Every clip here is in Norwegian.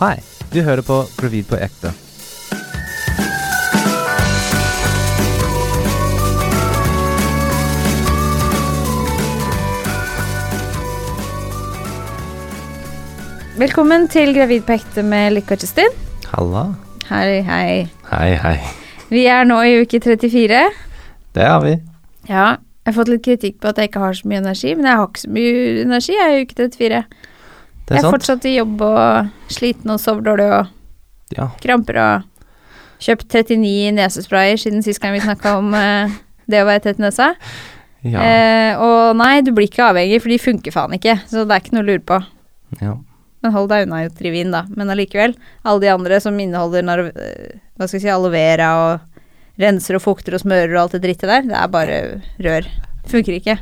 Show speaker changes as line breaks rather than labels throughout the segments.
Hei, du hører på Gravid på ekte.
Velkommen til Gravid på ekte med Lykke og Justin.
Halla.
Hei, hei.
Hei, hei.
Vi er nå i uke 34.
Det har vi.
Ja, jeg har fått litt kritikk på at jeg ikke har så mye energi, men jeg har ikke så mye energi jeg er i uke 34.
Det er
jeg er
sant.
fortsatt i jobb og sliten og sover dårlig og
Ja.
kramper og kjøpt 39 nesesprayer siden sist gang vi snakka om eh, det å være tett i nesa.
Ja.
Eh, og nei, du blir ikke avhengig, for de funker faen ikke, så det er ikke noe å lure på.
ja.
Men hold deg unna Trivin, da. Men allikevel, alle de andre som inneholder nar- eh, hva skal jeg si, aloe vera og renser og fukter og smører og alt det drittet der, det er bare rør. Funker ikke.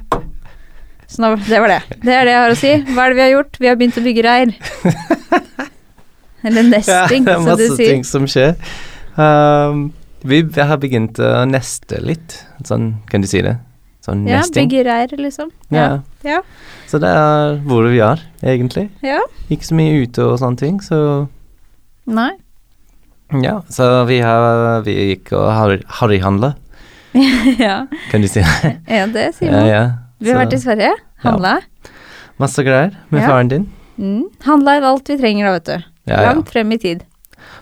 Så nå, det var det. Det er det jeg har å si. Hva er det vi har gjort? Vi har begynt å bygge reir. Eller nesting,
det er
som du
masse
sier.
ting som skjer. Um, vi jeg har begynt å neste litt. Sånn, kan du si det? Sånn
Ja,
nesting.
bygge reir, liksom.
Ja.
Ja.
Så det er hvor vi er, egentlig.
Ja.
Ikke så mye ute og sånne ting, så
Nei.
ja. Så vi, har, vi gikk og har- harryhandla,
ja.
kan du si det?
ja, det sier
Ja,
man.
ja.
Vi har vært i
Så,
Sverige, handla.
masse greier med
Ja.
faren din.
Mm. Handla inn alt vi trenger, da, vet du.
Ja, ja.
Langt frem i tid.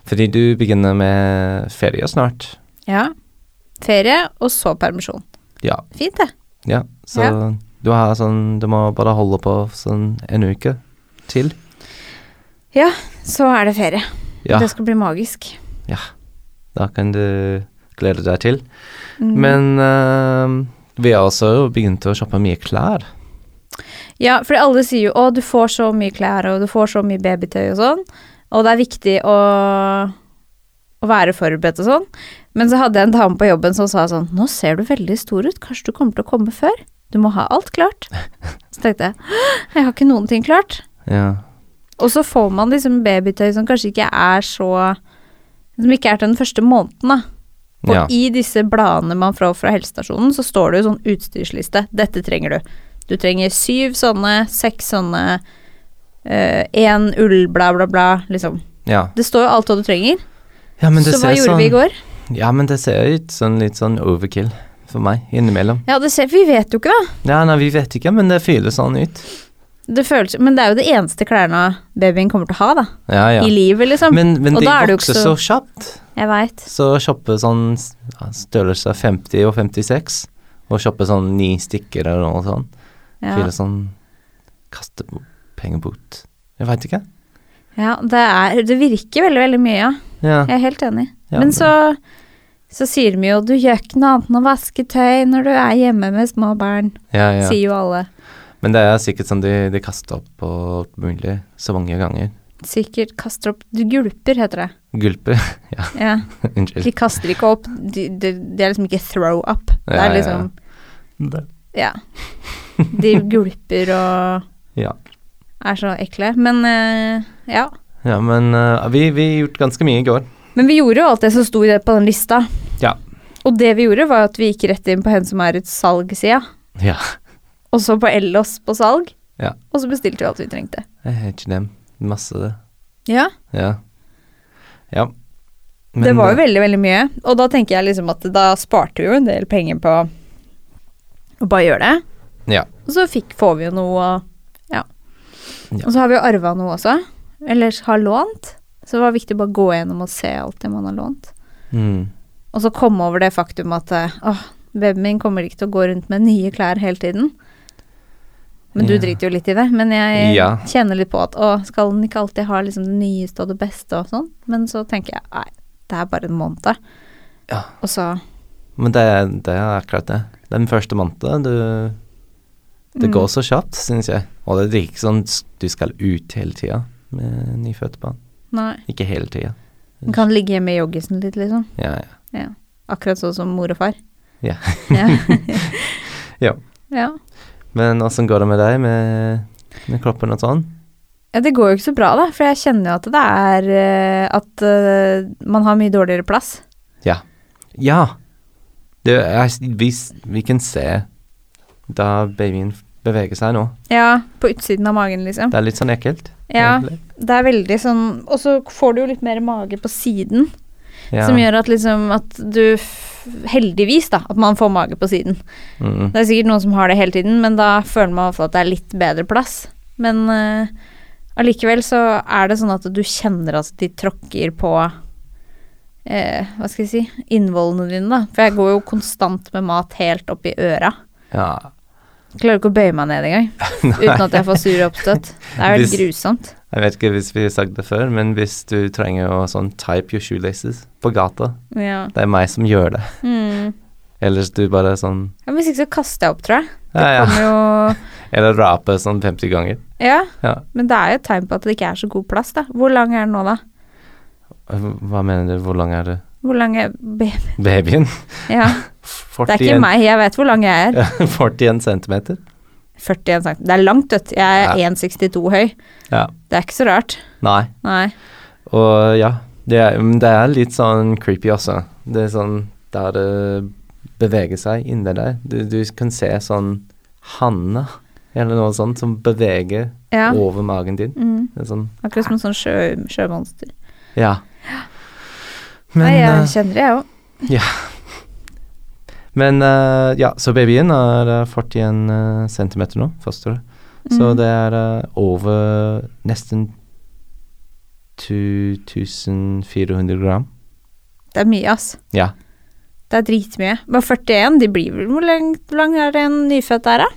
Fordi du begynner med ferie snart.
Ja. Ferie, og så permisjon.
Ja.
Fint, det.
Ja, så
Ja.
du har sånn Du må bare holde på sånn en uke til.
Så er det ferie.
Ja,
Det skal bli magisk.
da kan du glede deg til.
Mm.
Men eh, vi har også begynt å shoppe mye klær.
Ja, for alle sier jo 'Å, du får så mye klær, og du får så mye babytøy og sånn', og det er viktig å, å være forberedt og sånn. Men så hadde jeg en dame på jobben som sa sånn 'Nå ser du veldig stor ut, kanskje du kommer til å komme før? Du må ha alt klart'. Så tenkte jeg 'Hå, 'Jeg har ikke noen ting klart'.
Ja.
Og så får man liksom babytøy som kanskje ikke er så Som ikke er til den første måneden, da. Og
ja.
i disse bladene man får fra helsestasjonen, så står det jo sånn utstyrsliste. Dette trenger du. Du trenger syv sånne, seks sånne, én ull, bla, bla, bla, liksom.
ja.
Det står jo alt hva du trenger.
ja men det
så hva
ser
gjorde
sånn
vi i går?
Ja, men det ser ut sånn litt sånn overkill for meg innimellom.
Ja, det ser, vi vet jo ikke, da.
Ja, nei, vi vet ikke, men det føles sånn ut.
Det føles, men det er jo det eneste klærne babyen kommer til å ha, da.
Ja, ja.
I livet, liksom.
Men, men
Og
de
da er det jo
vokser
ikke
så
så-
kjapt.
Jeg veit.
Så shoppe sånn s- ja, størrelse 50 og 56, og shoppe sånn ni stykker eller noe sånn.
Ja.
Fylle sånn Kaste bo- penger bort. Jeg veit ikke.
ja, det er Det virker veldig, veldig mye, ja.
Ja.
Jeg er helt enig.
Ja,
men
men-
så, så sier de jo du gjør ikke noe annet enn å vaske tøy når du er hjemme med små barn,
Ja, ja.
sier jo alle.
Men det er sikkert sånn de, de kaster opp på alt mulig så mange ganger.
Sikkert kaster opp Du gulper, heter det.
Gulper.
Ja.
Unnskyld.
De kaster ikke opp. De, de, det er liksom ikke throw up. Det
Ja, ja,
er
ja.
liksom Ja. De gulper og
Ja.
er så ekle. Men eh, ja.
Ja, men eh, vi, vi gjort ganske mye i går.
Men vi gjorde jo alt det som sto i det på den lista.
Ja.
Og det vi gjorde, var at vi gikk rett inn på Hen som er et salgsida,
Ja.
og så på Ellos på salg,
Ja.
og så bestilte vi alt vi trengte.
Jeg er ikke dem. Masse det.
Ja.
Ja. Ja.
det var jo veldig, veldig mye. Og da tenker jeg liksom at da sparte vi jo en del penger på å bare gjøre det.
Ja.
Og så fikk, får vi jo noe, og ja.
Ja.
Og så har vi jo arva noe også. Eller har lånt. Så det var viktig å bare gå gjennom og se alt det man har lånt.
Mm.
Og så komme over det faktum at eh, åh, babyen min kommer ikke til å gå rundt med nye klær hele tiden. Men du
Ja.
driter jo litt i det. Men jeg
Ja.
kjenner litt på at å, skal den ikke alltid ha liksom det nyeste og det beste og sånn? Men så tenker jeg nei, det er bare en måned. da.
Ja.
Og så
Men det, det er akkurat det. Den første måneden, du
Mm.
Det går så kjapt, syns jeg. Og det er ikke sånn s- du skal ut hele tida med nyfødte barn.
Nei.
Ikke hele tida.
Den kan ligge hjemme i joggisen litt, liksom.
Ja, ja.
Akkurat sånn som mor og far.
Ja.
ja.
Ja.
ja.
Men åssen går det med deg, med, med kroppen og sånn?
Ja, det går jo ikke så bra, da, for jeg kjenner jo at det er eh, At eh, man har mye dårligere plass.
Ja. Det er, vi, s- vi kan se da babyen beveger seg nå.
Ja, på utsiden av magen, liksom.
Det er litt sånn ekkelt.
Ja,
egentlig.
det er veldig sånn Og så får du jo litt mer mage på siden,
Ja.
som gjør at liksom at du f- Heldigvis, da, at man får mage på siden.
Mm.
Det er sikkert noen som har det hele tiden, men da føler man i hvert fall at det er litt bedre plass. Men eh, allikevel så er det sånn at du kjenner at de tråkker på eh, Hva skal jeg si innvollene dine, da. For jeg går jo konstant med mat helt opp i øra.
ja.
Klarer ikke å bøye meg ned engang. Uten at jeg får sure oppstøt. Det er
Hvis-
helt grusomt.
Jeg vet ikke hvis vi har sagt det før, men hvis du trenger å sånn type your shoelaces på gata,
Ja.
det er meg som gjør det.
Mm.
Ellers du bare sånn
ja. Hvis ikke så kaster jeg opp, tror jeg.
ja, ja.
Kommer jo
Eller rape sånn 50 ganger.
Ja.
Ja.
Men det er jo et tegn på at det ikke er så god plass, da. Hvor lang er den nå, da?
Hva mener du, hvor lang er du?
Hvor lang er babyen?
Babyen?
Ja. Det er ikke meg, jeg vet hvor lang jeg er.
Ja, 41 centimeter.
41 cm. Det er langt, vet du. Jeg er 1,62 høy.
Ja.
Det er ikke så rart.
Nei.
Nei.
Og ja, det er, men det er litt sånn creepy også. Det er sånn der det beveger seg inni deg. Du, du kan se sånn hanne eller noe sånt som beveger
Ja.
over magen din.
Mm.
Det er sånn,
Akkurat som en sånn sjø, sjømonster.
ja. Men,
Nei,
eh,
jeg kjenner det, jeg òg.
men eh, ja, så babyen er eh, 41 eh, centimeter nå, fosteret. Så
Mhm.
det er eh, over nesten 2400 gram.
Det er mye, ass.
Ja.
Det er dritmye. Men 41, de blir vel Hvor lang, hvor lang er det en nyfødt er, da?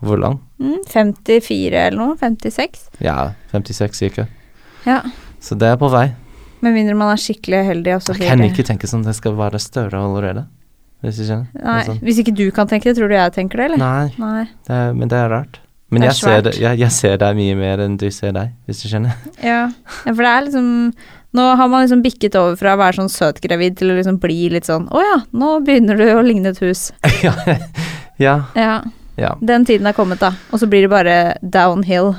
Hvor lang?
Mm, 54 eller noe? 56?
Ja, 56 cirka.
Ja.
Så det er på vei.
Med mindre man er skikkelig uheldig. og så
Jeg
blir
kan
det-
ikke tenke sånn det skal være større allerede. Hvis du skjønner? Det er
Nei,
sånn.
Hvis ikke du kan tenke det, tror du jeg tenker det, eller?
Nei
Nei.
det er, men det er rart. Men
Det er
jeg, ser
svært.
det, jeg, jeg ser deg mye mer enn du ser deg, hvis du skjønner.
Ja. ja, for det er liksom Nå har man liksom bikket over fra å være sånn søt gravid til å liksom bli litt sånn Å ja, nå begynner du å ligne et hus.
ja, ja,
Ja.
ja.
Den tiden er kommet, da. Og så blir det bare downhill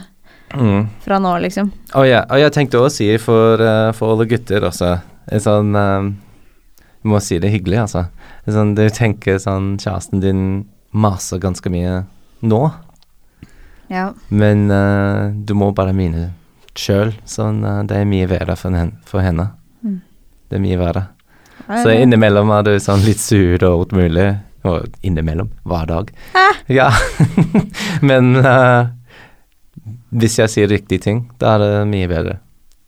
Mm.
fra nå, liksom.
Og, ja. og jeg tenkte å si for, eh, for alle gutter også en sånn eh, Jeg må si det hyggelig, altså. En sånn, du tenker sånn Kjæresten din maser ganske mye nå.
Ja.
Men eh, du må bare mine sjøl. Sånn, eh, det er mye verre for, hen, for henne.
Mm.
Det er mye verre.
Ja,
Så
ja.
innimellom er du sånn litt sur og alt mulig. Og innimellom. Hver dag. Ja. Men eh, hvis jeg sier riktige ting, da er det mye bedre.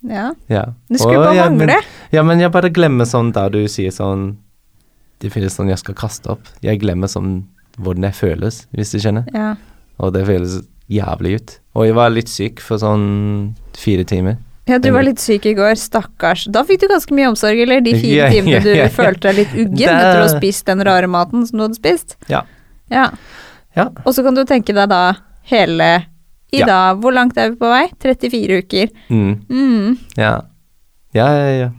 ja.
Ja.
Det skulle
Og
bare
ja,
mangle.
Men, ja, men jeg bare glemmer sånn der du sier sånn Det finnes sånn jeg skal kaste opp. Jeg glemmer sånn hvordan jeg føles, hvis du skjønner.
Ja.
Og det føles jævlig ut. Og jeg var litt syk for sånn fire timer.
ja, du var litt syk i går. Stakkars. Da fikk du ganske mye omsorg, eller? De
Ja,
fire timene du
ja, ja, ja.
følte deg litt uggen
Det-
etter å ha spist den rare maten som du hadde spist.
Ja.
ja.
Ja.
Og så kan du tenke deg da hele I
Ja.
dag, hvor langt er vi på vei? 34 uker.
Mm.
Mm.
Ja. Ja, ja, ja.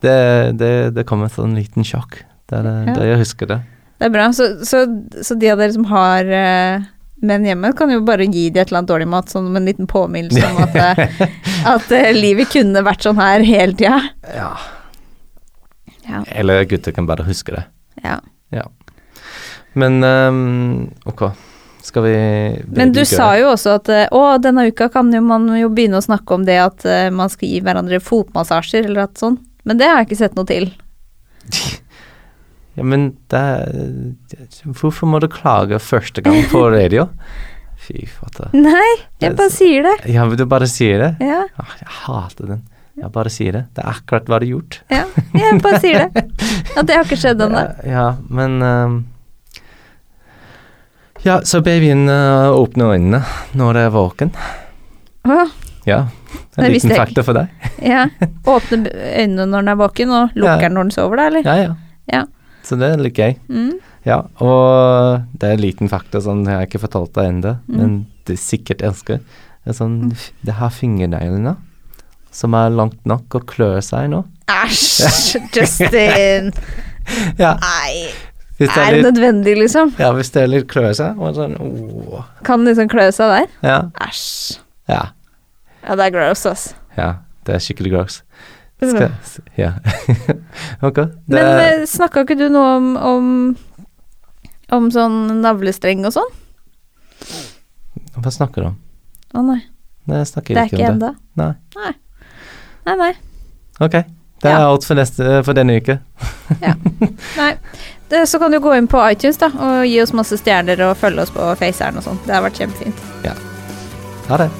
Det, det, det kom et sånn liten sjokk. Det er det,
Ja.
det jeg husker det.
Det er bra. Så, så, så de av dere som har eh, menn hjemme, kan jo bare gi de et eller annet dårlig mat sånn som en liten påminnelse om at, eh, at eh, livet kunne vært sånn her hele tida.
Ja.
Ja.
Eller gutter kan bare huske det.
Ja.
Men ehm, ok, skal vi
Men du sa jo også at eh, å, denne uka kan jo man jo begynne å snakke om det at eh, man skal gi hverandre fotmassasjer eller at sånn. Men det har jeg ikke sett noe til.
Ja, men det er- Hvorfor må du klage første gang på radio? Fy fader.
Nei, jeg
Det-
bare sier det.
Ja, men du bare sier det.
Ja,
Ah, jeg hater den. Jeg bare sier det. Det er akkurat hva du har gjort.
ja, jeg bare sier det. At det har ikke skjedd ennå.
Ja, ja, men ehm, Ja, så babyen eh, åpner øynene når jeg er våken.
Å,
Ja. En
Det visste
liten
jeg
fakta for deg.
Ja. Åpne b- øynene når den er våken, og lukker
Ja.
den når den sover, da, eller?
Ja, ja.
Ja.
Så det er litt gøy.
Mm.
Ja, og det er en liten fakta som jeg har ikke fortalt deg ennå,
Mm.
men du sikkert elsker. Det er sånn Det har fingerneglene som er langt nok å klø seg nå.
Æsj, Justin.
Ja,
Nei,
hvis det er
er det
litt,
nødvendig, liksom?
ja, hvis det er litt klø seg. Og sånn, åh.
Kan liksom klø seg der?
Ja,
Æsj.
ja,
Ja, det er gross, ass.
ja. Det er skikkelig gross. Skal, s- ja. ok. Det,
Men eh, snakka ikke du noe om, om om sånn navlestreng og sånn?
hva snakker du om?
Å nei.
Nei, jeg snakker
Det er
ikke,
ikke
om det.
ennå.
Nei.
Nei. Nei, nei.
Ok, det er
Ja.
alt for, neste, for denne uke.
nei. Det, så kan du gå inn på iTunes da, og gi oss masse stjerner og følge oss på Faceren og sånn. Det har vært kjempefint.
Ha det.